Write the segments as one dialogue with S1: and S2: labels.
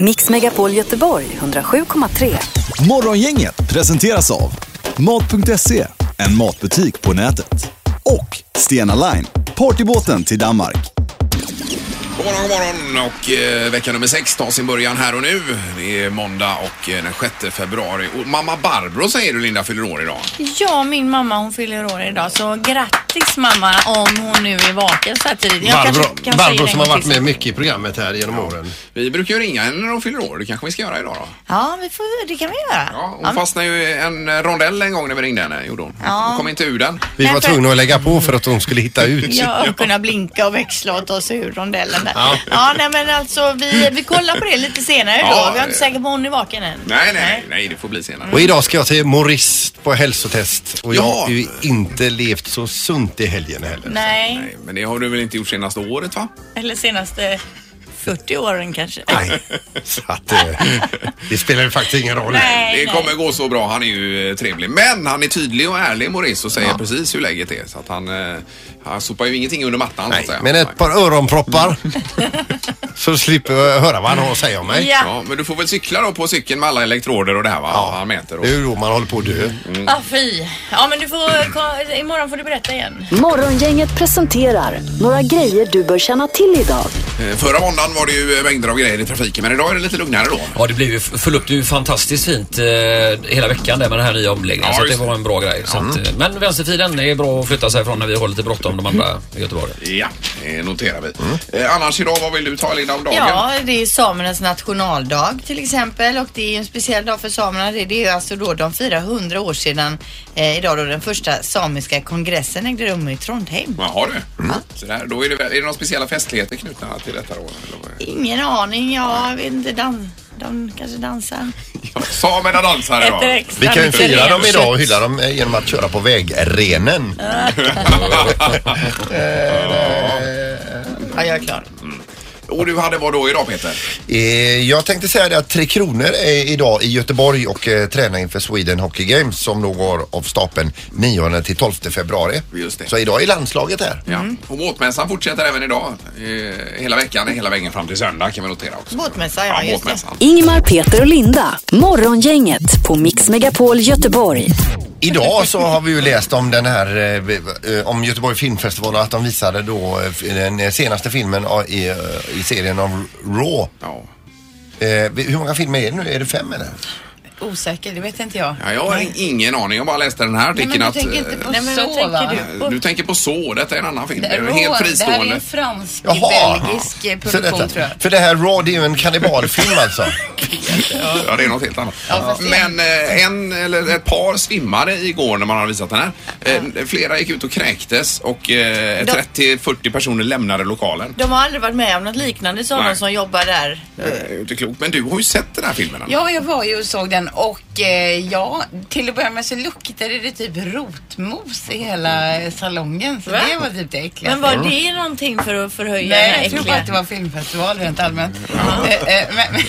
S1: Mix Megapol Göteborg 107,3.
S2: Morgongänget presenteras av Mat.se, en matbutik på nätet. Och Stena Line, partybåten till Danmark.
S3: God morgon, god morgon och eh, vecka nummer sex tar sin början här och nu. Det är måndag och eh, den 6 februari. Och mamma Barbro säger du Linda fyller år idag.
S4: Ja, min mamma hon fyller år idag så grattis mamma om hon nu är vaken så här tidigt. Jag
S5: Barbro,
S4: kanske kan säga
S5: Barbro
S4: det
S5: som
S4: en
S5: har
S4: gång
S5: varit
S4: till.
S5: med mycket i programmet här genom åren.
S3: Vi brukar ju ringa henne när hon fyller år. Det kanske vi ska göra idag då.
S4: Ja, vi får, det kan vi göra.
S3: Ja, hon fastnade ju i en eh, rondell en gång när vi ringde henne. Gjorde hon.
S4: Ja.
S3: hon kom inte ur den.
S5: Vi var
S4: Därför-
S5: tvungna att lägga på för att hon skulle hitta ut.
S4: Ja, och kunna blinka och växla och ta sig ur rondellen där. Ja, nej men alltså vi, vi kollar på det lite senare då.
S3: Ja,
S4: vi är inte
S3: det-
S4: säkra på om hon är vaken än.
S3: Nej, nej, nej, det får bli senare.
S5: Och idag ska jag till Morist på hälsotest och jag
S3: Ja.
S5: har ju inte levt så sunt i helgen heller.
S4: Nej,
S3: Nej, men det har du väl inte gjort senaste året va?
S4: eller senaste 40 åren kanske.
S5: Nej. Så att eh, det spelar ju faktiskt ingen roll.
S4: nej.
S3: Det kommer gå så bra. Han är ju eh, trevlig. Men han är tydlig och ärlig Maurice och säger precis hur läget är. Så att han, eh, han sopar ju ingenting under mattan så att
S5: Nej,
S3: säga.
S5: men ett par öronproppar så slipper jag höra vad han har att säga om mig.
S4: Ja,
S3: Ja, men du får väl cykla då på cykeln med alla elektroder och det här va? Ja. Han mäter och...
S5: Det är ju då man håller på att dö.
S3: Mm.
S4: ah, fy. Ja, men du får, ko- imorgon får du berätta igen.
S1: Morgongänget presenterar några grejer du bör känna till idag.
S3: Eh, Förra måndagen var det ju eh, mängder av grejer i trafiken men idag är det lite lugnare då.
S6: Ja, det blev ju, föll upp det ju fantastiskt fint eh, hela veckan där med den här nya omläggningen.
S3: Ja,
S6: så att det
S3: just
S6: var en bra grej. Så att, eh, men vänsterfilen är bra att flytta sig ifrån när vi har lite bråttom de andra i Göteborg.
S3: Ja, det noterar vi. Eh, Annars idag, vad vill du ta Linda om dagen?
S4: Ja, det är samernas nationaldag till exempel och det är ju en speciell dag för samerna. Det det är ju alltså då de firar 100 år sedan eh, idag då den första samiska kongressen ägde rum i Trondheim.
S3: Jaha du. Så där, då är, det, väl- är det några speciella festligheter knutna till detta då? eller vad är det?
S4: Ingen aning, ja, jag vet inte. Dan, de kanske dansar.
S3: Ja, Samerna dansar
S4: Äter
S3: idag.
S4: extra
S5: Vi kan ju
S4: mycket
S5: fira dem
S4: renkött.
S5: idag och hylla dem eh, genom att köra på vägrenen.
S4: Ja, jag är klar.
S3: Och du hade vad då idag Peter?
S5: Eh, Jag tänkte säga det att Tre Kronor är idag i Göteborg och eh, tränar inför Sweden Hockey Games som då går av stapeln 9 till 12 februari.
S3: Just det.
S5: Så idag är landslaget här.
S3: Ja. Och båtmässan fortsätter även idag. Eh, hela veckan, hela vägen fram till söndag kan vi notera också.
S4: Båtmässa, ja, just det.
S3: båtmässan.
S1: Ingmar, Peter och Linda. Morgongänget på Mix Megapol Göteborg.
S5: Idag så har vi ju läst om den här eh, v- eh, om Göteborg Filmfestival och att de visade då eh, f- den senaste filmen av- i, eh, i serien om Raw.
S3: Ja.
S5: Eh, vi- Hur många filmer är det nu? Är det fem eller?
S4: Osäker, det vet inte jag.
S3: Ja, jag har ingen aning. Jag bara läste den här
S7: Nej,
S3: artikeln
S7: men du
S3: att...
S7: tänker inte på
S4: Nej, men vad
S7: så,
S4: tänker
S7: va?
S4: du?
S3: eh, du tänker på så. Detta är en annan film. Det
S7: Det
S3: är
S7: är
S3: en helt
S7: rå, det här är
S3: fristående.
S7: en
S4: eh,
S7: fransk-belgisk
S5: Ja. Så
S7: produktion
S5: detta-
S7: tror jag.
S5: För det här Raw, det är ju en kannibalfilm alltså.
S3: Ja, det är något helt annat. Men eh, en eller ett par svimmade igår när man hade visat den här. Eh, Flera gick ut och kräktes och eh,
S4: De-
S3: 30-40 personer lämnade lokalen.
S4: De har aldrig varit med om något liknande, sa
S3: Nej.
S4: de som jobbar där.
S3: Eh, Det är inte klokt. Men du har ju sett den här filmen. Anna.
S7: Ja, jag var ju och såg den och eh, ja, till att börja med så luktade det typ rotmos i hela eh, salongen. Så
S4: Va?
S7: det var typ det äckliga.
S4: Men var det någonting för att förhöja den här
S7: Nej, jag tror bara
S4: äckliga?
S7: att det var filmfestival rent allmänt. Eh, eh, men- men-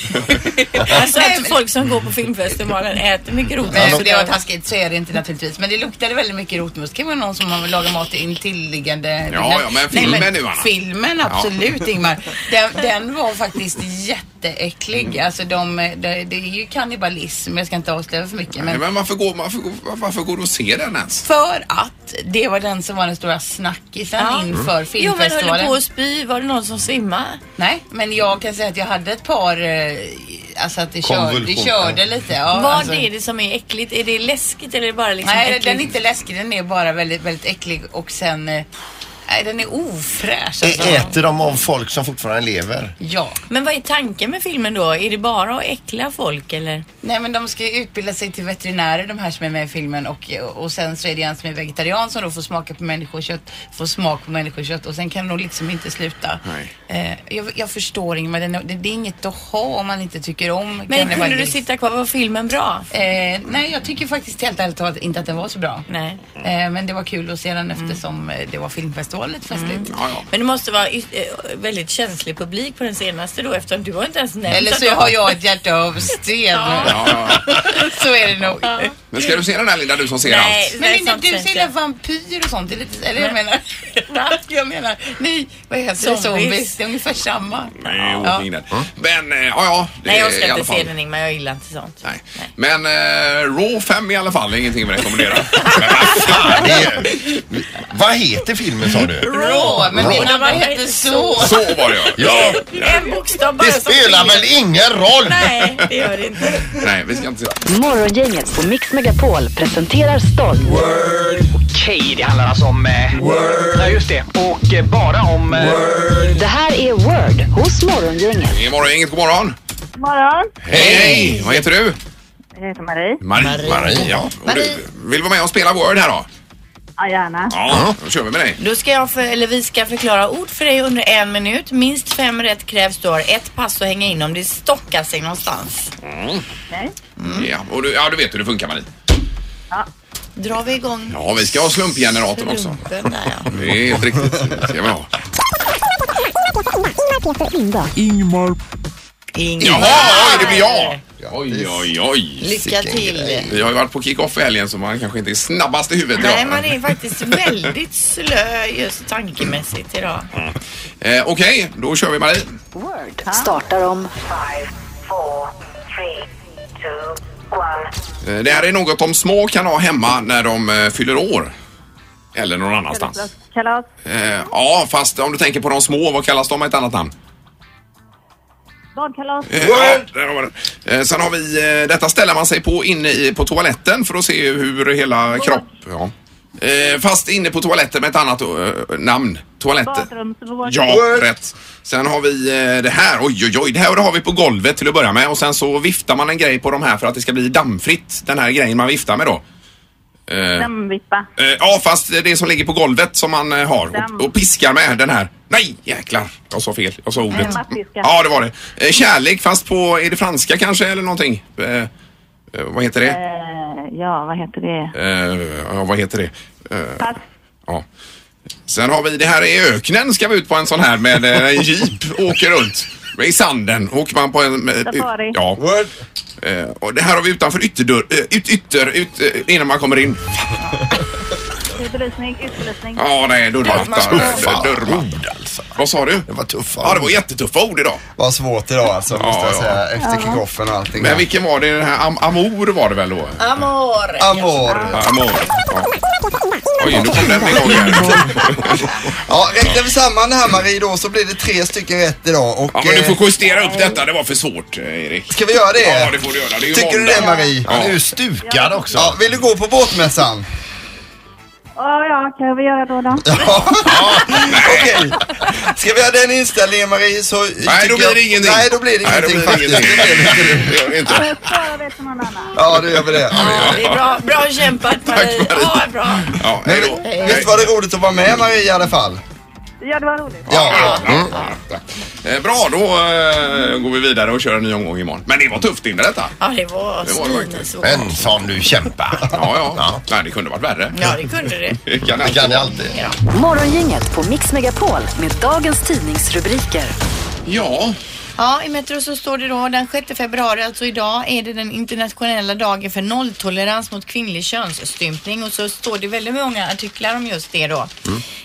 S4: Alltså
S7: Nej,
S4: att
S7: men-
S4: folk som går på filmfestivalen äter mycket roligt.
S7: Nej,
S4: Alltså,
S7: för det var taskigt. Så är det inte naturligtvis. Men det luktade väldigt mycket rotmos. Det kan vara någon som har lagat mat i intilliggande...
S3: Ja, ja, men filmen nu, Anna.
S7: Filmen, absolut Ingmar. Den, den var faktiskt jätteäcklig.
S4: Mm.
S7: Alltså de, det, det är ju kannibalism. Jag ska inte avslöja för mycket.
S3: Nej,
S7: Men
S3: Men varför går, varför, går- varför går du och ser den ens?
S7: för att det var den som var den stora snackisen
S4: Ja. Mm.
S7: inför
S4: Jo men höll du
S7: filmfestivalen.
S4: på att spy? Var det någon som svimmade?
S7: Nej, men jag kan säga att jag hade ett par... eh, Alltså att det, kör, det
S5: Konvulsion.
S7: körde lite. Ja,
S4: Vad
S7: alltså.
S4: är det som är äckligt? Är det läskigt eller är det bara liksom
S7: Nej,
S4: äckligt?
S7: den är inte läskig. Den är bara väldigt, väldigt äcklig och sen... eh, Nej, den är ofräsch. Alltså.
S5: Ä- Äter de av folk som fortfarande lever?
S7: Ja.
S4: Men vad är tanken med filmen då? Är det bara att äckla folk eller?
S7: Nej, men de ska ju utbilda sig till veterinärer, de här som är med i filmen. Och, och sen så är det en som är vegetarian som då får smaka på människokött, får smak på människokött och sen kan de liksom inte sluta.
S3: Nej.
S7: Eh, jag, jag förstår Ingmar, det, det, det är inget att ha om man inte tycker om
S4: Men
S7: cannibalism.
S4: kunde du sitta kvar? Var filmen bra?
S7: Eh, nej, jag tycker faktiskt helt ärligt talat inte att den var så bra.
S4: Nej.
S7: Eh, men det var kul att se den
S4: Mm.
S7: eftersom eh, det var filmfestival lite festligt.
S3: Ja, ja.
S4: Men det måste vara yt- eh, väldigt känslig publik på den senaste då eftersom du var inte ens nämnt
S7: Eller
S4: att
S7: så
S4: du
S7: har jag ett hjärta av sten.
S3: Ja, ja, ja.
S7: Så är det nog.
S3: Men ska du se den här Linda, du som ser
S4: Nej,
S3: allt?
S7: Men
S4: nej,
S7: Linda,
S4: sånt
S7: du
S4: ser inte
S7: ser
S4: jag.
S7: vampyr och sånt. Det är lite, eller jag menar. svarta. Jag menar, nej, vad heter
S8: Zombies.
S7: det? Zombies. Det är ungefär samma.
S3: Nej,
S7: Ja.
S3: ordning där. Men eh, ja, ja. det
S8: Nej,
S3: är
S8: jag
S3: i
S8: ska
S3: alla
S8: inte
S3: fall-
S8: se den men jag gillar inte sånt.
S3: Nej. Men eh, Raw 5 i alla fall, det är ingenting vi rekommenderar.
S5: Det är, vad heter filmen sa du?
S7: Rå, men
S5: Rå.
S7: menar vad heter så?
S3: Så var det ja.
S5: Ja,
S8: En bokstav bara
S5: det
S8: som
S5: spelar
S8: skiljer.
S5: väl ingen roll?
S8: Nej, det gör det inte.
S3: Nej, vi ska inte säga.
S1: Morgongänget på Mix Megapol presenterar stolt.
S9: Okej, det handlar alltså om... Eh, Ja, just det. Och eh, bara om... Eh,
S1: Det här är Word hos Morgongänget.
S3: Det är morgon, inget god morgon.
S10: morgon.
S3: Hej, hej! Vad heter du?
S10: Jag heter Marie.
S3: Marie. Marie, ja. Och du vill vara med och spela Word här då?
S10: Ja, gärna.
S3: Ja, då kör vi med dig.
S8: Då ska jag, för, eller vi ska förklara ord för dig under en minut. Minst fem rätt krävs. Du har ett pass att hänga in om det stockar sig någonstans.
S10: Okej.
S3: Ja, och du, ja, du vet hur det funkar Marie.
S8: Drar vi igång
S3: Ja, vi ska ha slumpgeneratorn också.
S8: rumpen där ja.
S3: Det är helt riktigt. Det ska vi ha.
S8: Ingmar.
S3: Jaha, oj, det blir jag! Oj, oj, oj.
S8: Lycka
S5: Sicken
S8: till.
S3: Vi har ju varit på kick-off i helgen så man kanske inte är snabbast i huvudet
S8: Nej,
S3: idag.
S8: man är faktiskt väldigt slö just tankemässigt idag.
S3: Eh, Okej, då kör vi Marie.
S1: Word startar om
S3: Eh, Det här är något de små kan ha hemma när de eh, fyller år. Eller någon annanstans.
S10: Kalas.
S3: Eh, ja, fast om du tänker på de små, vad kallas de med ett annat namn?
S10: Badkalas.
S3: Eh, ja, där har vi den. Eh, sen har vi, eh, detta ställer man sig på inne i, på toaletten för att se hur hela kropp... Ja. Eh, fast inne på toaletten med ett annat eh, namn. Toaletten.
S10: Badrumsvård.
S3: Ja, rätt. Sen har vi eh, det här. Oj, oj, oj. Det här har vi på golvet till att börja med och sen så viftar man en grej på de här för att det ska bli dammfritt. Den här grejen man viftar med då. Eh,
S10: Dammvippa.
S3: eh, ja, fast det som ligger på golvet som man eh, har
S10: Damm.
S3: och, och piskar med den här. Nej, jäklar. Jag sa fel. Jag sa ordet.
S10: Mattfiskar.
S3: Ja, det var det. Eh, kärlek fast på, är det franska kanske eller någonting? Eh, eh, vad heter det?
S10: Eh, ja, vad heter det?
S3: Eh, ja, vad heter det? Eh,
S10: Pass.
S3: Ja. Sen har vi det här i öknen ska vi ut på en sån här med eh, en jeep åker runt. I sanden åker man på en... med-
S10: Safari.
S3: Ja. Eh, och det här har vi utanför ytterdörr, eh, ut, ytter, ut, eh, innan man kommer in.
S10: Det är Belysning. Utbelysning.
S3: Ja, nej, dörrmatta. eh, Dörrmatta.
S5: alltså.
S3: Vad sa du?
S5: Det var tuffa
S3: Ja, det var jättetuffa ord idag.
S11: Var svårt idag alltså, måste
S3: Ja,
S11: jag
S3: ja.
S11: säga. Efter kickoffen och allting.
S3: Men vilken var det? Den här am Amor var det väl då?
S8: Amor.
S11: Amor.
S3: Amor. Ja. Oj, nu kom den igång igen.
S11: Ja, räknar vi samman det här Marie då så blir det tre stycken rätt idag. Och,
S3: Ja, men du
S11: eh,
S3: får justera upp detta. Det var för svårt, eh, Erik.
S11: Ska vi göra det?
S3: Ja, det får du göra. Det är ju
S11: Tycker du
S3: måndag.
S11: det Marie?
S5: Han är ju stukad också.
S11: Ja, vill du gå på båtmässan?
S10: Ja, ja, kan vi göra då då?
S11: Okej. Ska vi ha den inställningen Marie så...
S3: Nej,
S11: tycker
S3: då blir det
S11: jag-
S3: ingenting.
S11: Nej, då blir det
S3: Nej, då
S11: ingenting
S3: blir
S11: faktiskt.
S3: det ingenting.
S11: Då blir det ingenting.
S3: Det gör det inte.
S10: Jag sparar det till någon annan.
S11: Ja, då gör vi det.
S8: Ja, det är bra, bra kämpat Marie.
S3: Marie.
S8: Ja, bra.
S3: Ja, hej då.
S11: Men, visst var det roligt att vara med Marie i alla fall?
S10: Ja, det var roligt.
S3: Ja, ja, ja. Eh, Bra, då eh, går vi vidare och kör en ny omgång imorgon. Men det var tufft inne detta.
S8: Ja, det var
S3: Det var det verkligen.
S8: svinsvårt.
S5: Men som du kämpar.
S3: Ja, ja. Nej, det kunde varit värre.
S8: Ja, det kunde det.
S3: Det kan
S5: Det
S3: alltid
S5: kan det
S3: vara.
S5: alltid.
S1: Morgongänget på Mix Megapol med dagens tidningsrubriker.
S3: Ja,
S4: Ja, i Metro så står det då den 6 februari, alltså idag, är det den internationella dagen för nolltolerans mot kvinnlig könsstympning och så står det väldigt många artiklar om just det då.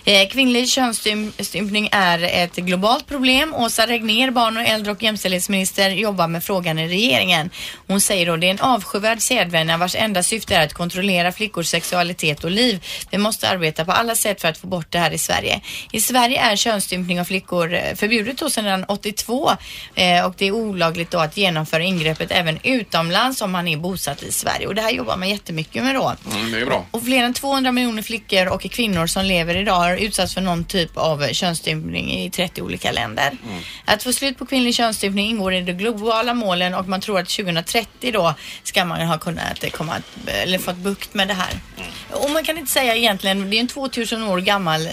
S4: Eh, kvinnlig könsstympning är ett globalt problem. Åsa Regner, barn och äldre och jämställdhetsminister, jobbar med frågan i regeringen. Hon säger då det är en avskyvärd sedvänja vars enda syfte är att kontrollera flickors sexualitet och liv. Vi måste arbeta på alla sätt för att få bort det här i Sverige. I Sverige är könsstympning av flickor eh, förbjudet då sedan 82 eh, och det är olagligt då att genomföra ingreppet även utomlands om man är bosatt i Sverige och det här jobbar man jättemycket med då.
S3: mm, det är bra.
S4: Och fler än 200 miljoner flickor och kvinnor som lever idag har utsatts för någon typ av könsstympning i 30 olika länder.
S3: Mm.
S4: Att få slut på kvinnlig könsstympning ingår i de globala målen och man tror att 2030 då ska man ha kunnat eh, komma, eller fått bukt med det här.
S3: Mm.
S4: Och man kan inte säga egentligen, det är en 2000 år gammal eh,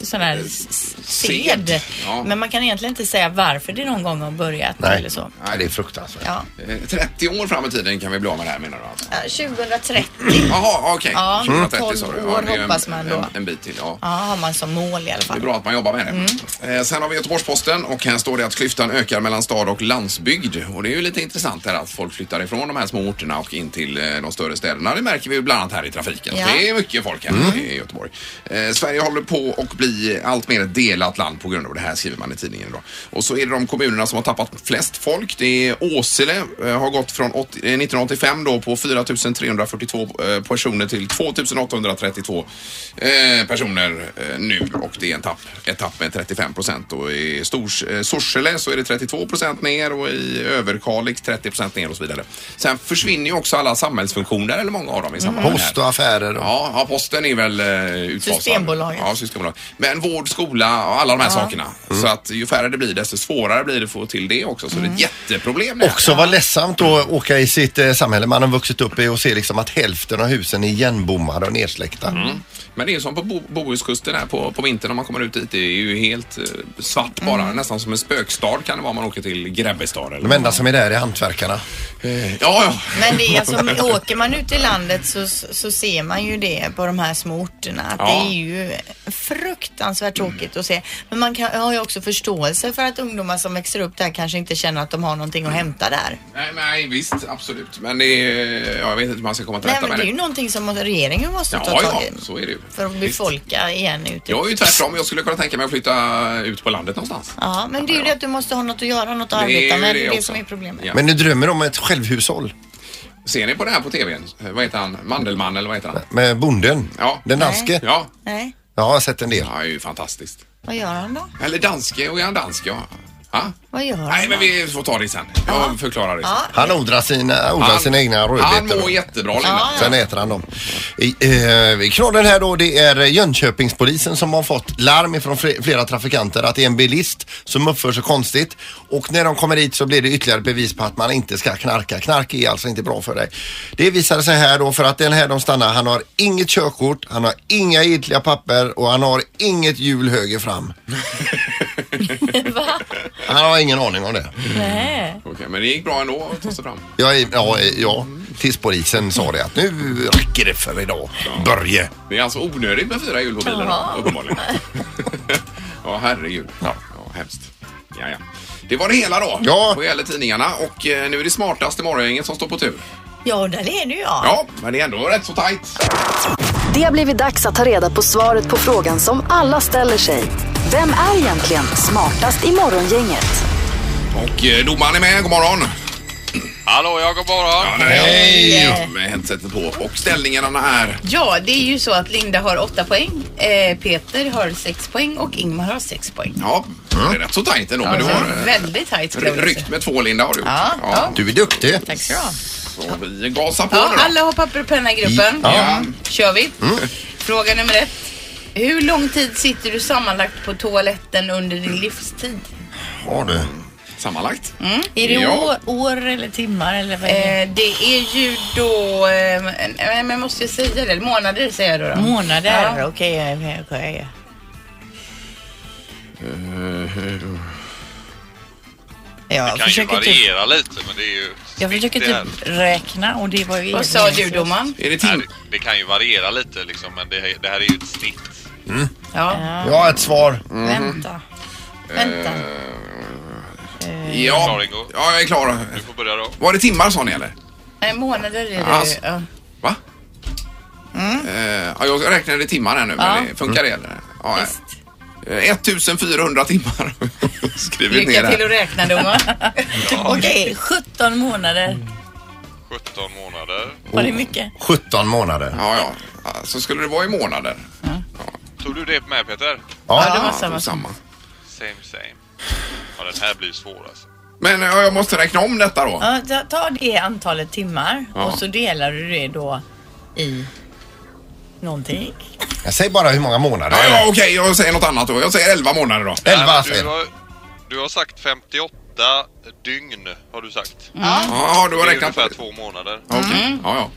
S4: sån här s- s-
S3: Eh, sed.
S4: sed.
S3: Ja.
S4: Men man kan egentligen inte säga varför det någon gång har börjat
S5: Nej.
S4: eller så.
S5: Nej, det är fruktansvärt.
S4: Ja.
S3: Eh, 30 år fram i tiden kan vi bli av med det här menar du? alltså?
S4: Eh, 2030
S5: Mm.
S3: Jaha, okej.
S4: Ja,
S3: 2030 sa du.
S4: 12 år
S3: det är en-
S4: hoppas man då.
S3: En, en bit till, ja.
S4: ja, Mm. har man som mål i alla
S3: Det är
S4: fall.
S3: bra att man jobbar med det. Eh, sen har vi Göteborgs-Posten och här står det att klyftan ökar mellan stad och landsbygd. Och det är ju lite intressant här att folk flyttar ifrån de här små orterna och in till eh, de större städerna. Det märker vi ju bland annat här i trafiken.
S4: Ja.
S3: Det är mycket folk här i Göteborg. Eh, Sverige håller på och bli allt mer ett delat land på grund av det här skriver man i tidningen. Då. Och så är det de kommunerna som har tappat flest folk. Det är Åsele eh, har gått från 80, eh, 1985 då på 4 342 eh, personer till 2 832 eh, personer eh, nu och det är en tapp, ett tapp med 35 procent. Och i Stors, eh, Sorsele så är det 32 procent ner och i Överkalix 30 procent ner och så vidare. Sen försvinner ju också alla samhällsfunktioner eller många av dem i samband med det här.
S5: Post och affärer. och-
S3: Ja, ja, posten är väl eh, utfasad.
S5: Systembolaget.
S3: Ja, Systembolaget. Men vård, skola och alla de här
S5: Ja.
S3: sakerna. Så att ju färre det blir desto svårare blir det att få till det också. Så det är
S4: Mm.
S3: ett jätteproblem. det här.
S5: Också vad ledsamt att åka i sitt eh, samhälle man har vuxit upp i och se liksom att hälften av husen är igenbommade och nedsläckta.
S3: Mm. Men det är ju som på Bo- Bohuskusten här på, på vintern när man kommer ut dit. Det är ju helt eh, svart bara.
S4: Mm.
S3: Nästan som en spökstad kan det vara om man åker till Grebbestad. Eller
S5: De enda som är där är hantverkarna.
S3: Ja, ja.
S4: Men det är alltså, åker man ut i landet så, så ser man ju det på de här små orterna. Att
S3: Ja.
S4: Det är ju fruktansvärt tråkigt att se. Men man kan, har ju också förståelse för att ungdomar som växer upp där kanske inte känner att de har någonting att
S3: Mm.
S4: hämta där.
S3: Nej, nej, visst, absolut. Men det är, ja, jag vet inte hur man ska komma till
S4: Nej,
S3: rätta
S4: men
S3: med
S4: det är
S3: det.
S4: ju någonting som regeringen måste ta
S3: Ja,
S4: tag
S3: ja,
S4: i.
S3: så är det ju.
S4: För att befolka igen ute.
S3: Jag är ju tvärtom. Jag skulle kunna tänka mig att flytta ut på landet någonstans.
S4: Ja, men det är ju det att du måste ha något att göra, något att
S3: Det är ju
S4: arbeta med.
S3: det
S4: Det är det
S3: också.
S4: som är problemet.
S3: Ja.
S5: Men nu drömmer de om ett självhushåll
S3: Ser ni på det här på tvn? Eh, Vad heter han? Mandelmann eller vad heter han?
S5: med bonden.
S3: Ja.
S5: Den danske.
S3: Ja.
S4: Nej,
S5: Jag har sett en del.
S3: Ja, det är ju fantastiskt.
S4: vad gör han då?
S3: Eller danske, och är han dansk? Ja. Ha?
S4: Vad gör han?
S3: Nej, men vi får ta det sen. Jag förklarar det sen.
S5: Han odlar sina, odlar
S3: Han-
S5: sina egna rödbetor.
S3: han mår jättebra, Linda. Ja, ja.
S5: Sen äter han dem. I, eh, I knorren här då, det är Jönköpingspolisen som har fått larm ifrån fre- flera trafikanter att det är en bilist som uppför sig konstigt. Och när de kommer hit så blir det ytterligare bevis på att man inte ska knarka. Knark är alltså inte bra för dig. Det visade sig här då för att den här de stannar, han har inget körkort, han har inga giltiga papper och han har inget hjul höger fram. Han har ingen aning om det.
S4: Nej.
S3: Okej, men det gick bra ändå att ta sig fram.
S5: Jag är, ja, eh, ja, tills polisen sa det att nu räcker det för idag. Börje.
S3: Det är alltså onödigt med fyra hjul på bilen då, uppenbarligen. ja, herregud. Ja. hemskt. Ja, ja. Det var det hela då ja. vad gäller tidningarna och eh, nu är det smartaste morgongänget som står på tur.
S4: Ja, där leder ju jag.
S3: Ja, men det är ändå rätt så tajt.
S1: Det har blivit dags att ta reda på svaret på frågan som alla ställer sig. Vem är egentligen smartast i morgongänget?
S3: Och eh, domaren är med, god morgon.
S12: Hallå, ja god morgon.
S3: Ja, nej, Hej! Med headsetet på och ställningarna är...
S7: Ja, det är ju så att Linda har åtta poäng, eh, Peter har sex poäng och Ingmar har sex poäng.
S3: Ja, det är rätt så tajt ändå. Men du
S7: Alltså,
S3: har eh,
S7: väldigt tajt skulle jag vilja säga.
S3: ryckt med två, Linda. Har du. gjort.
S7: Ja, ja.
S5: Du är duktig.
S7: Tack ska du ha.
S3: Så vi gasar på
S7: Ja,
S3: nu då.
S7: alla har papper och penna i gruppen.
S3: Ja. Mm. Ja.
S7: kör vi. Fråga nummer ett. Hur lång tid sitter du sammanlagt på toaletten under din livstid?
S5: Har du?
S3: Sammanlagt?
S7: Mm.
S4: Är det år, år eller timmar eller vad är det?
S7: Eh, det är ju då, eh, nej, men måste jag säga det? Månader säger jag då. då.
S4: Månader?
S7: Eh, Ja.
S4: Okej, okej, okej. Ja,
S12: det kan ju
S4: försöker typ-
S12: variera lite men det är ju...
S4: Jag försöker
S12: Det är-
S4: typ räkna och det var ju...
S7: Vad sa du, domaren?
S3: Är det
S12: Nej, det- det kan ju variera lite liksom men det, det här är ju ett snitt.
S7: Ja.
S5: Jag har ett svar.
S7: Mm-hmm.
S4: Vänta. Vänta.
S7: Eh.
S12: Är du klar,
S3: Ja,
S12: Ingo?
S3: ja, jag är klar.
S12: Du får börja då.
S3: Var det timmar sa ni eller?
S7: Nej, månader är det
S3: Alltså.
S7: ja.
S3: Va? Eh, ja, jag räknade i timmar här nu, men
S7: Mm. Ja.
S3: det funkar det eller? Ja, eh, 1400 timmar skrivit ner
S7: Lycka till att
S3: här.
S7: räkna domaren.
S4: Okej, 17 månader.
S7: Mm.
S12: 17 månader.
S4: Var
S7: Oh.
S4: det mycket?
S5: 17 månader.
S3: Ja, ja. Ja, Så skulle det vara i månader?
S12: Tog du det med Peter?
S7: Ja, det var
S3: Ja,
S7: samma.
S3: då samma.
S12: Same same. Ja den här blir svår alltså.
S3: Men eh, jag måste räkna om detta då.
S4: Ja, ta- ta det antalet timmar
S3: Ja.
S4: och så delar du det då i någonting.
S5: Jag säger bara hur många månader.
S3: Ja, ja, okej, jag säger något annat då. Jag säger 11 månader då.
S5: Elva
S12: du,
S5: säger jag.
S12: har, du har sagt 58 dygn har du sagt.
S3: Ja, du har
S12: det är
S3: räknat på
S12: ungefär
S3: det.
S12: två månader.
S3: Okej,
S7: Mm.
S3: ja, ja.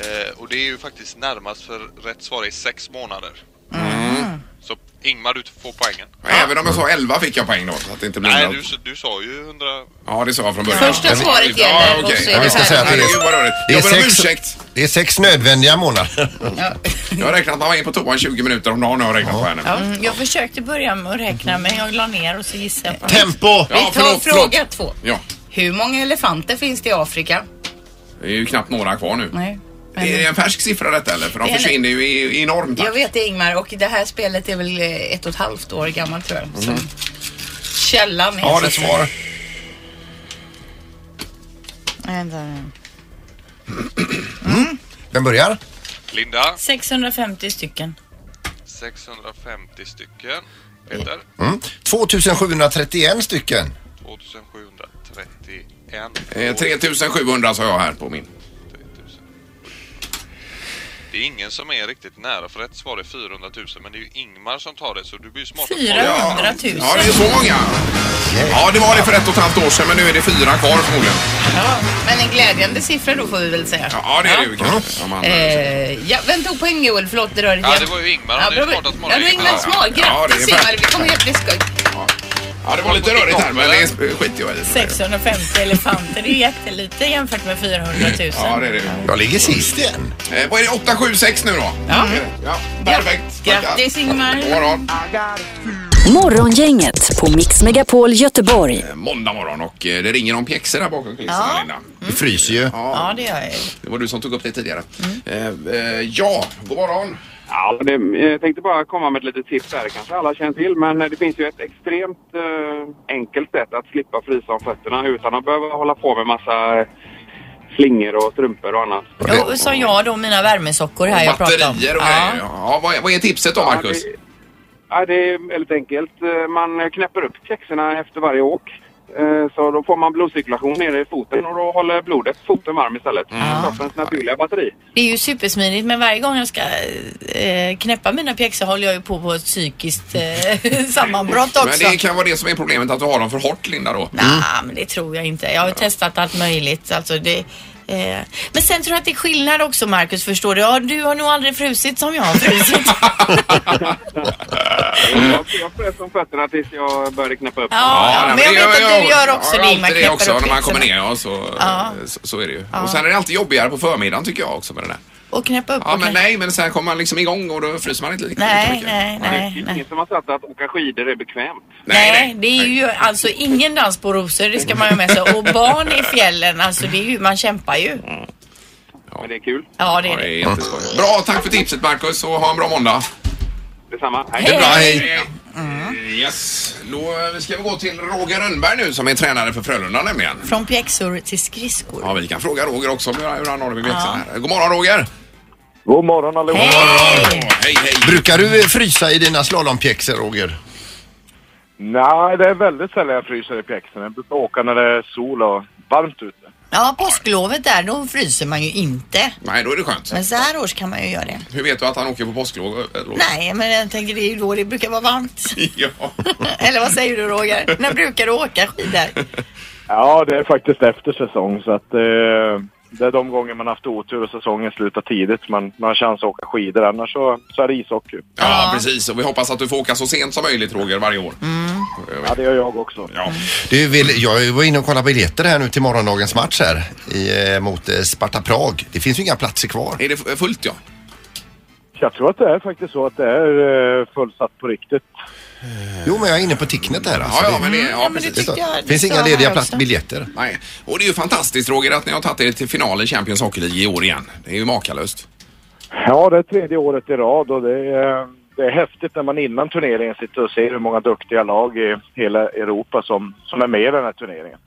S12: Eh, och det är ju faktiskt närmast för rätt svar är sex månader.
S3: Mm.
S12: Så Ingmar du får poängen.
S3: Även om jag sa 11 fick jag poäng då. Så att det inte blir
S12: Nej
S3: något-
S12: du, s- du sa ju 100...
S3: Ja, det sa jag från början.
S7: Första
S3: Ja,
S7: svaret
S3: ja,
S7: gäller och
S3: okej.
S7: så är
S5: Men vi
S7: det
S5: ska säga att det
S3: Herregud, vad
S5: är,
S3: rörigt.
S5: det är
S3: Jag ber om
S5: sex,
S3: ursäkt.
S5: det är sex nödvändiga månader.
S3: Jag har räknat man var inne på toan 20 minuter om dagen har jag räknat på här nu. Ja,
S4: Mm, jag försökte börja med att räkna men jag la ner och så gissade jag på
S5: Tempo!
S7: Vi tar
S3: förlåt,
S7: fråga
S3: förlåt.
S7: två.
S3: Ja,
S7: Hur många elefanter finns det i Afrika?
S3: det är ju knappt några kvar nu.
S7: Nej.
S3: Är det en färsk siffra detta eller? För de
S7: Det är en-
S3: försvinner ju i, i enorm
S7: Jag
S3: takt.
S7: vet det Ingmar och det här spelet är väl eh, ett och ett halvt år gammalt tror jag. Så
S3: Mm.
S7: Källan är
S3: Ja,
S7: så
S3: det
S7: att säga.
S3: svar.
S7: Vänta nu.
S5: Mm. Vem börjar?
S12: Linda,
S4: 650 stycken.
S12: 650 stycken. Peter,
S5: Mm. 2731 stycken.
S12: 2731.
S3: Eh, 3700 sa jag här på min.
S12: Det är ingen som är riktigt nära för rätt svar är 400 000 men det är ju Ingmar som tar det så du blir ju smartare.
S4: 400 000.
S3: Ja, det är så många. Ja, det var det för ett och ett halvt år sedan men nu är det fyra kvar förmodligen.
S7: Ja, men en glädjande siffra då får vi väl säga.
S3: Ja, det är det ju kanske. om man-
S7: Eh, ja, vem tog poäng Joel? Förlåt, det rörde
S12: Ja, det var ju Ingmar. Han är ju smartast
S7: Ja, det var Ingmar Smal.
S3: Ja, det är
S7: Grattis
S3: bra.
S7: Ingmar, vi kommer helt bli skoj.
S3: Ja, det var lite rörigt här men det skiter jag i.
S4: 650 elefanter, det är ju jättelite jämfört med 400 000.
S3: Ja, det är det.
S5: Jag ligger sist igen.
S3: Eh, vad är det? 876 nu då? Ja. ja perfekt.
S4: Mm. Grattis, Ingmar.
S3: God morgon.
S1: Morgongänget på Mix Megapol Göteborg.
S3: Måndag morgon och eh, det ringer om pjäxor där bakom kulisserna
S1: Ja.
S3: Linda.
S4: Mm.
S5: Det fryser ju.
S3: Ja,
S4: det gör jag
S3: Det var du som tog upp det tidigare.
S4: Mm.
S3: Eh, eh, ja, god morgon.
S13: Ja, det, jag tänkte bara komma med ett litet tips här. kanske alla känner till, men det finns ju ett extremt eh, enkelt sätt att slippa frysa om fötterna utan att behöva hålla på med massa eh, slingor och strumpor och annat.
S4: Och som jag då, mina värmesockor här jag pratar om.
S3: Batterier och grejer. Ja, vad, är- vad är tipset då, Marcus?
S13: Ja, det är väldigt enkelt. Eh, Man knäpper upp kexerna efter varje åk. Eh, Så då får man blodcirkulation nere i foten och då håller blodet foten varm istället.
S4: Mm.
S13: Kroppens naturliga batteri.
S4: Det är ju supersmidigt men varje gång jag ska eh, knäppa mina pjäxor håller jag ju på på ett psykiskt eh, sammanbrott också.
S3: Men det kan vara det som är problemet, att du har dem för hårt, Linda då.
S4: Nej, men det tror jag inte. Jag har ju testat allt möjligt. Alltså det, eh. Men sen tror jag att det är skillnad också Marcus, förstår du? Ja, du har nog aldrig frusit som jag har frusit.
S13: Jag, jag frös om fötterna tills jag började knäppa upp.
S4: Mm. Ja, ja, men jag vet att du gör också
S3: ja,
S4: det,
S3: alltid
S4: man
S3: det
S4: knäpper
S3: också
S4: upp
S3: när man kommer
S4: pjäxorna.
S3: ner. Ja, så, eh,
S4: Ja.
S3: så, så är det ju.
S4: Ja.
S3: Och sen är det alltid jobbigare på förmiddagen tycker jag också med den där.
S4: Och knäppa upp
S3: Ja,
S4: och
S3: men
S4: knäppa.
S3: nej, men sen kommer man liksom igång och då fryser man inte lika lika
S4: Nej,
S3: mycket.
S4: nej, nej,
S13: Det är ingen som har sagt att åka skidor är bekvämt.
S4: Nej, det är ju alltså ingen dans på rosor, det ska man ju med sig. Och barn i fjällen, alltså det är ju, man kämpar ju.
S13: Men det är kul.
S4: Mm. Ja, det
S3: Ja,
S4: är
S3: det
S4: det.
S3: är jätteskoj. Bra, tack för tipset Marcus och ha en bra måndag.
S13: Detsamma.
S3: Hej. Det är bra, hej. Eh, Yes, då eh, ska vi gå till Roger Rönnberg nu som är tränare för Frölunda nämligen.
S4: Från pjäxor till skridskor.
S3: Ja, vi kan fråga Roger också om hur han- hur han har det med växeln här. God morgon Roger!
S14: God morgon allihopa!
S3: Hej, hej!
S5: Brukar du eh, frysa i dina slalompjäxor, Roger?
S14: Nej, det är väldigt sällan jag fryser i pjäxorna. Jag brukar åka när det är sol och varmt ute.
S4: Ja, påsklovet där, då fryser man ju inte.
S3: Nej, då är det skönt.
S4: Men så här års kan man ju göra det.
S3: Hur vet du att han åker på påsklov? eh, Roger?
S4: Nej, men jag tänker det är ju då det brukar vara varmt.
S3: Ja.
S4: Eller vad säger du Roger? När brukar du åka skidor?
S14: Ja, det är faktiskt efter säsong så att eh, det är de gånger man haft otur och säsongen slutar tidigt. Man, man har chans att åka skidor annars så, så är det ishockey.
S3: Ja, precis. Och vi hoppas att du får åka så sent som möjligt, Roger, varje år. Ja,
S14: det gör jag också.
S3: Ja.
S5: Du vill, jag var inne och kollade biljetter här nu till morgondagens match här i, eh, mot eh, Sparta Prag. Det finns ju inga platser kvar.
S3: Är det fullt ja?
S14: Jag tror att det är faktiskt så att det är eh, fullsatt på riktigt.
S5: Jo, men jag är inne på Ticknet här alltså.
S3: Ja, ja, men det, ja,
S5: det
S3: precis.
S5: står- finns inga lediga plats, biljetter.
S3: Nej, och det är ju fantastiskt Roger att ni har tagit er till final i Champions Hockey League i år igen. Det är ju makalöst.
S14: Ja, det är tredje året i rad och det är, det är häftigt när man innan turneringen sitter och ser hur många duktiga lag i hela Europa som, som är med i den här turneringen.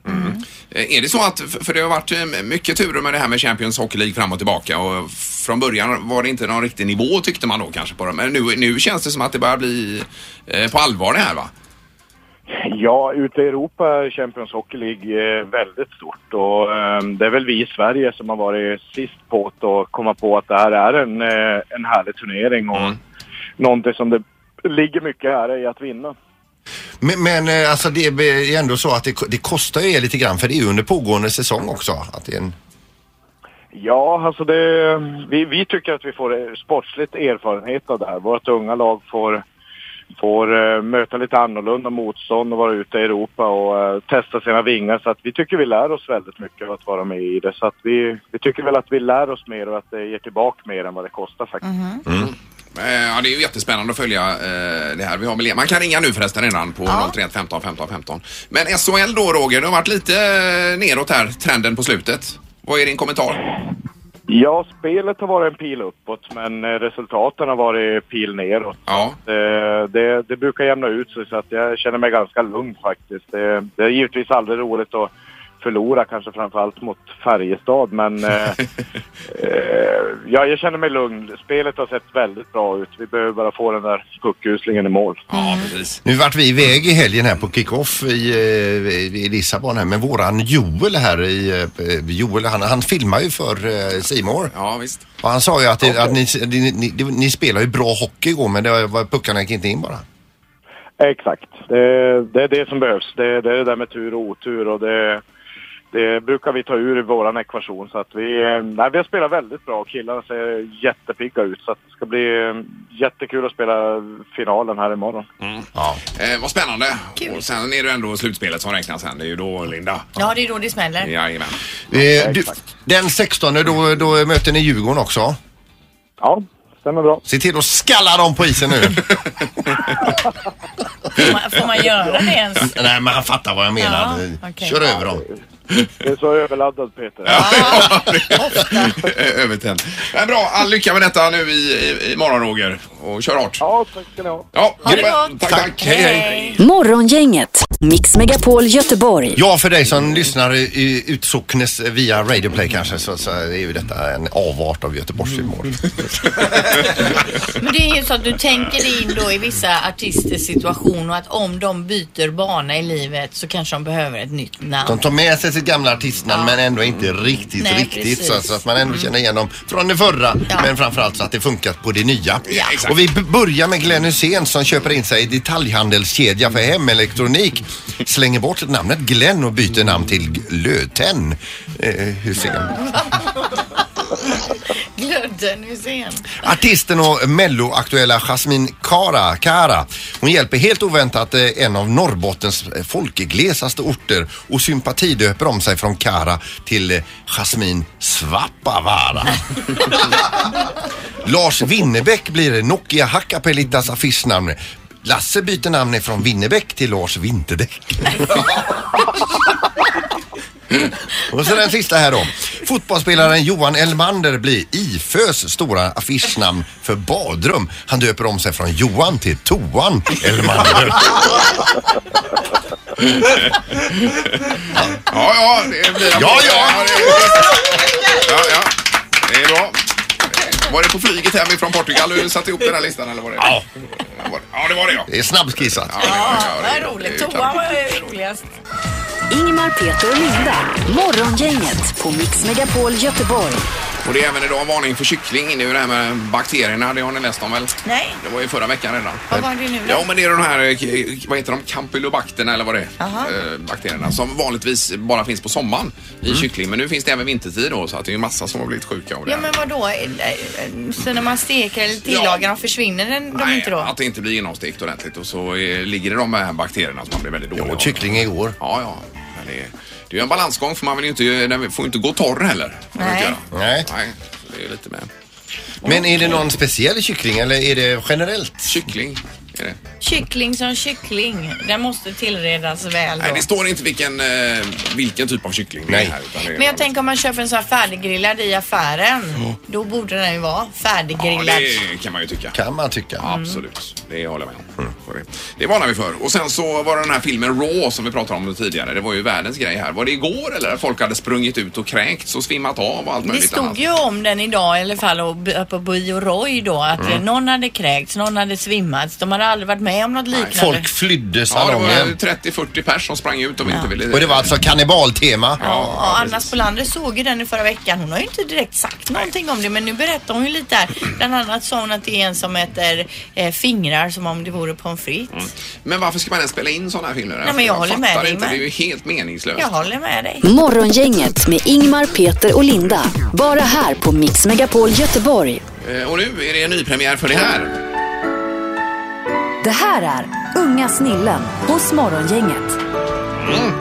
S3: Eh, Är det så att, för det har varit eh, mycket turer med det här med Champions Hockey League fram och tillbaka och från början var det inte någon riktig nivå tyckte man då kanske på dem. Men nu, nu känns det som att det börjar bli eh, på allvar det här va?
S14: Ja, ute i Europa är Champions Hockey League eh, väldigt stort och eh, det är väl vi i Sverige som har varit sist på att komma på att det här är en, eh, en härlig turnering och någonting som det ligger mycket ära i att vinna.
S5: Men, men eh, alltså det är ändå så att det, det kostar ju er lite grann för det är ju under pågående säsong också. Att det är en,
S14: Ja, alltså det, vi, vi tycker att vi får eh, sportsligt erfarenhet av det här. Vårt unga lag får, får eh, möta lite annorlunda motstånd och vara ute i Europa och eh, testa sina vingar. Så att vi tycker vi lär oss väldigt mycket av att vara med i det. Så att vi, vi tycker väl att vi lär oss mer och att det ger tillbaka mer än vad det kostar faktiskt.
S3: Eh, Ja, det är ju jättespännande att följa eh, det här. Vi har med Man kan ringa nu förresten redan på
S14: Ja.
S3: 031 15 15 15. Men SHL då Roger, det har varit lite eh, neråt här, trenden på slutet. Vad är din kommentar?
S14: Ja, spelet har varit en pil uppåt, men eh, resultaten har varit pil neråt.
S3: Ja.
S14: Det, eh, det, det brukar jämna ut sig, så att jag känner mig ganska lugn faktiskt. Det, det är givetvis aldrig roligt att förlora, kanske framförallt mot Färjestad, men eh, eh, ja, jag känner mig lugn. Spelet har sett väldigt bra ut. Vi behöver bara få den där puckuslingen i mål.
S3: Ja, precis.
S5: Nu vart vi iväg i helgen här på kick-off i, eh, i i Lissabon här med våran Joel här i eh, Joel, han, han filmar ju för eh, Simor.
S3: Ja, visst.
S5: Och han sa ju att, det, att ni, ni, ni, ni spelar ju bra hockey igår men det var, puckarna gick inte in bara. Eh,
S14: Exakt. Det, det är det som behövs. Det, det är det där med tur och otur och det, det brukar vi ta ur i vår ekvation. Så att vi, eh, nej, vi har spelat väldigt bra. Killarna ser jättepigga ut. Så att det ska bli eh, jättekul att spela finalen här imorgon.
S5: Ja.
S3: Eh, vad spännande. Och sen är det ändå slutspelet som räknas sen. Det är ju då Linda.
S4: Ja, det är då det smäller.
S3: Jajamän.
S5: Eh, du, den 16 då, då möter ni Djurgården också.
S14: Ja, stämmer bra.
S5: Se till att skalla dem på isen nu.
S4: Får man, får man göra det ens?
S5: Nej men han fattar vad jag menar. Eh,
S4: Ja, okej.
S5: Kör över dem.
S14: Du är så överladdad Peter.
S3: Eh, Övertänd. Men bra, all lycka med detta nu i, i, imorgon Roger. Och kör hårt.
S14: Ja, tack ska ni ha.
S3: Ja,
S4: Ha det
S3: toppen.
S4: gott.
S3: Tack, tack. Hej, hej.
S1: Morgongänget, Mix Megapol Göteborg.
S5: Ja, för dig
S4: Mm.
S5: som lyssnar i- i- utsocknes via Radio Play kanske så, så är ju detta en avart av
S4: Mm.
S5: Göteborgsfilmår.
S4: Men det är ju så att du tänker dig in då i vissa artisters situation och att om de byter bana i livet så kanske de behöver ett nytt
S5: De
S4: namn.
S5: tar med sig sitt gamla artistnamn men ändå inte riktigt,
S4: Nej,
S5: riktigt. Så,
S4: precis. Mm.
S5: så att man ändå känner igen dem från det förra men framförallt så att det funkat på det nya. Och vi b- börjar med Glenn Hussein som köper in sig i detaljhandelskedja för hemelektronik. Slänger bort namnet Glenn och byter namn till Löten eh, Hussein.
S4: Glödden Hysén.
S5: Artisten och melloaktuella Jasmine Kara, Kara. Hon hjälper helt oväntat eh, en av Norrbottens eh, folkglesaste orter och sympatidöper om sig från Kara till eh, Jasmine Svappavaara. Lars Winnerbäck blir Nokia Hakkapelittas affischnamn. Lasse byter namn från Winnerbäck till Lars Vinterdäck. Och så den sista här då. Fotbollsspelaren Johan Elmander blir IFÖs stora affischnamn för badrum. Han döper om sig från Johan till Toan Elmander.
S3: Ja, ja, det blir
S5: Ja, ja.
S3: det- ja, ja. Det är bra. Var det på flyget hemifrån Portugal du satte ihop den här listan eller var det?
S5: Ja.
S3: var det- Ja, det var det ja.
S5: Det är snabbskissat.
S4: Ja,
S3: det-
S4: vad roligt.
S3: det är
S4: Toan var ju roligast.
S1: Ingmar, Peter och Linda. Morgongänget på Mix Megapol Göteborg.
S3: Och det är även idag varning för kyckling. Det är ju det här med bakterierna. Det har ni läst om väl?
S4: Nej.
S3: Det var ju förra veckan redan.
S4: Vad var det nu då?
S3: Ja, men det är de här, eh, k- vad heter de, campylobacterna eller vad det är, eh, bakterierna som vanligtvis bara finns på sommaren i kyckling. Men nu finns det även vintertid då, så att det är ju massa som har blivit sjuka av det.
S4: Mm. Ja
S3: här.
S4: men vadå? Eh, Så när man steker eller tillagar dem försvinner den, de inte då?
S3: Att det inte blir genomstekt ordentligt och så eh, ligger det de här bakterierna som man blir väldigt dålig
S5: Jo,
S3: av.
S5: kyckling igår.
S3: Ja, ja. Men det, är- det är ju en balansgång för man vill ju inte, den får ju inte gå torr heller. Får man
S4: Nej.
S3: inte göra.
S5: Nej.
S3: Nej, det är lite med.
S5: Men är det någon speciell kyckling eller är det generellt?
S3: Kyckling är det.
S4: Kyckling som kyckling. Den måste tillredas väl då.
S3: Nej, det står inte vilken, eh, vilken typ av kyckling det
S5: Nej.
S3: är här. Utan det är
S4: Men jag tänker om man köper en sån här färdiggrillad i affären. Då borde den ju vara
S3: Mm. Ja,
S4: färdiggrillad.
S3: det kan man ju tycka.
S5: Kan man tycka.
S3: Absolut, det håller jag med om. För Det, det varnar vi för. Och sen så var det den här filmen Raw som vi pratade om tidigare. Det var ju världens grej här. Var det igår eller? Folk hade sprungit ut och kräkts och svimmat av och allt
S4: Det
S3: möjligt
S4: stod
S3: annat.
S4: ju om den idag i alla fall och b- på Bio Roy då att eh, någon hade kräkts, någon hade svimmats. De hade aldrig varit med om något liknande.
S5: Folk flydde
S3: Ja, det var
S5: salongen.
S3: 30-40 pers som sprang ut och inte ville...
S5: Och det var alltså kannibaltema.
S4: Ja, Anna Spolander såg ju den i förra veckan. Hon har ju inte direkt sagt någonting om det men nu berättar hon ju lite här. Bland annat sa hon att det är en som äter eh, fingrar som om det vore pommes frites.
S3: Men varför ska man ens spela in sådana här filmer?
S4: Nej, men jag håller med
S3: fattar
S4: dig,
S3: inte.
S4: men-
S3: Det är ju helt meningslöst.
S4: Jag håller med dig.
S1: Morgongänget med Ingmar, Peter och Linda. Bara här på Mix Megapol Göteborg.
S3: Eh, Och nu är det en ny premiär för det här.
S1: Det här är Unga snillen hos Morgongänget.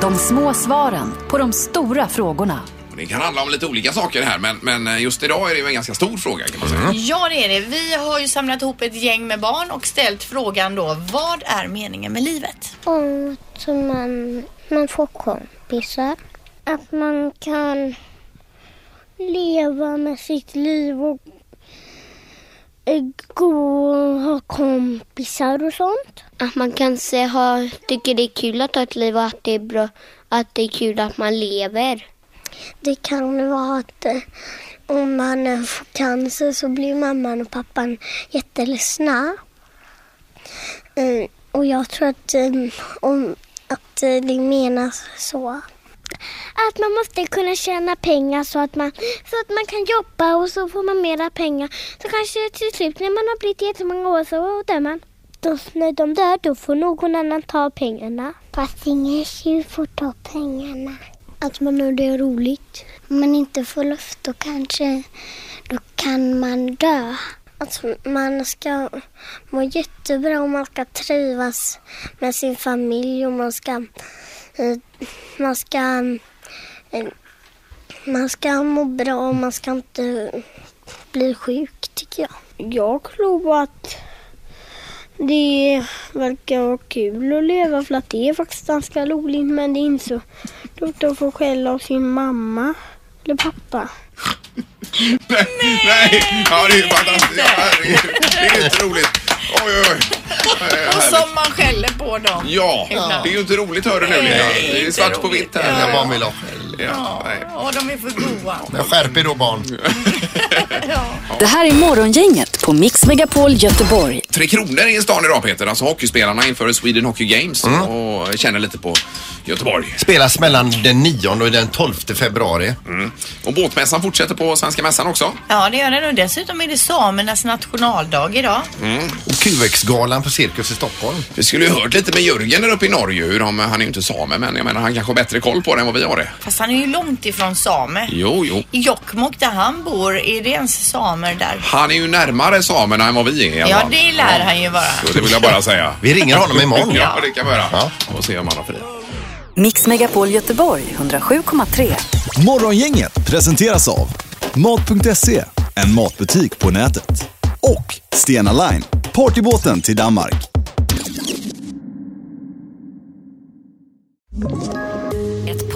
S1: De små svaren på de stora frågorna.
S3: Det kan handla om lite olika saker här, men, men just idag är det ju en ganska stor fråga kan man säga.
S4: Ja det är det. Vi har ju samlat ihop ett gäng med barn och ställt frågan då vad är meningen med livet?
S15: att man, man får kompisar. Att man kan leva med sitt liv och eh, gå och ha kompisar och sånt. Att man kanske har, tycker det är kul att ha ett liv och att det är bra, att det är kul att man lever. Det kan vara att om man får cancer så blir mamman och pappan jätteledsna. Eh, Och jag tror att, eh, om, att eh, det menas så.
S16: Att man måste kunna tjäna pengar så att, man, så att man kan jobba och så får man mera pengar. Så kanske till slut när man har blivit jättemånga år så dör man. Då, när de dör då får någon annan ta pengarna.
S15: Fast ingen tjuv får ta pengarna. Att man har det roligt. Om man inte får luft då kanske då kan man dö. Att man ska må jättebra och man ska trivas med sin familj och man ska, eh, man ska, eh, man ska må bra och man ska inte bli sjuk tycker jag. Jag tror att det verkar vara kul att leva för att det är faktiskt ganska roligt men det är inte så roligt att få skäll av sin mamma eller pappa.
S3: Nej! Ja, det är ju fantastiskt. Ja, herregud. Det är ju inte roligt. Oj, oj, oj. Eh,
S4: Och
S3: härligt.
S4: som man skäller på dem.
S3: Ja,
S4: Ibland.
S3: det är ju inte roligt hör du nu Linda. Det är svart på vitt här.
S5: Jag bara vill ha skäll.
S3: Ja, nej.
S4: Ja, de är för goa.
S5: Men skärp er då barn.
S1: Det här är Morgongänget på Mix Megapol Göteborg.
S3: Tre Kronor är i stan idag Peter, alltså hockeyspelarna inför Sweden Hockey Games och känner lite på Göteborg.
S5: Spelas mellan den 9 och den 12 februari.
S3: Mm. Och båtmässan fortsätter på Svenska mässan också.
S4: Ja, det gör det nog. Dessutom är det samernas nationaldag idag.
S5: Och QX-galan på Cirkus i Stockholm.
S3: Vi skulle ju hört lite med Jörgen där uppe i Norge hur de, han är ju inte same men jag menar han kanske har bättre koll på det än vad vi har det.
S4: Fast han är ju långt ifrån same.
S3: Jo, jo.
S4: I Jokkmokk där han bor, är det ens samer där?
S3: Han är ju närmare samerna än vad vi är i alla
S4: Ja,
S3: fall.
S4: det lär han ju vara.
S3: Så det vill jag bara säga.
S5: Vi ringer honom imorgon.
S3: Ja, det kan vi göra. Och se om han har fri.
S1: Mix Megapol Göteborg 107,3.
S2: Morgongänget presenteras av Mat.se, en matbutik på nätet. Och Stena Line, partybåten till Danmark.
S17: Ett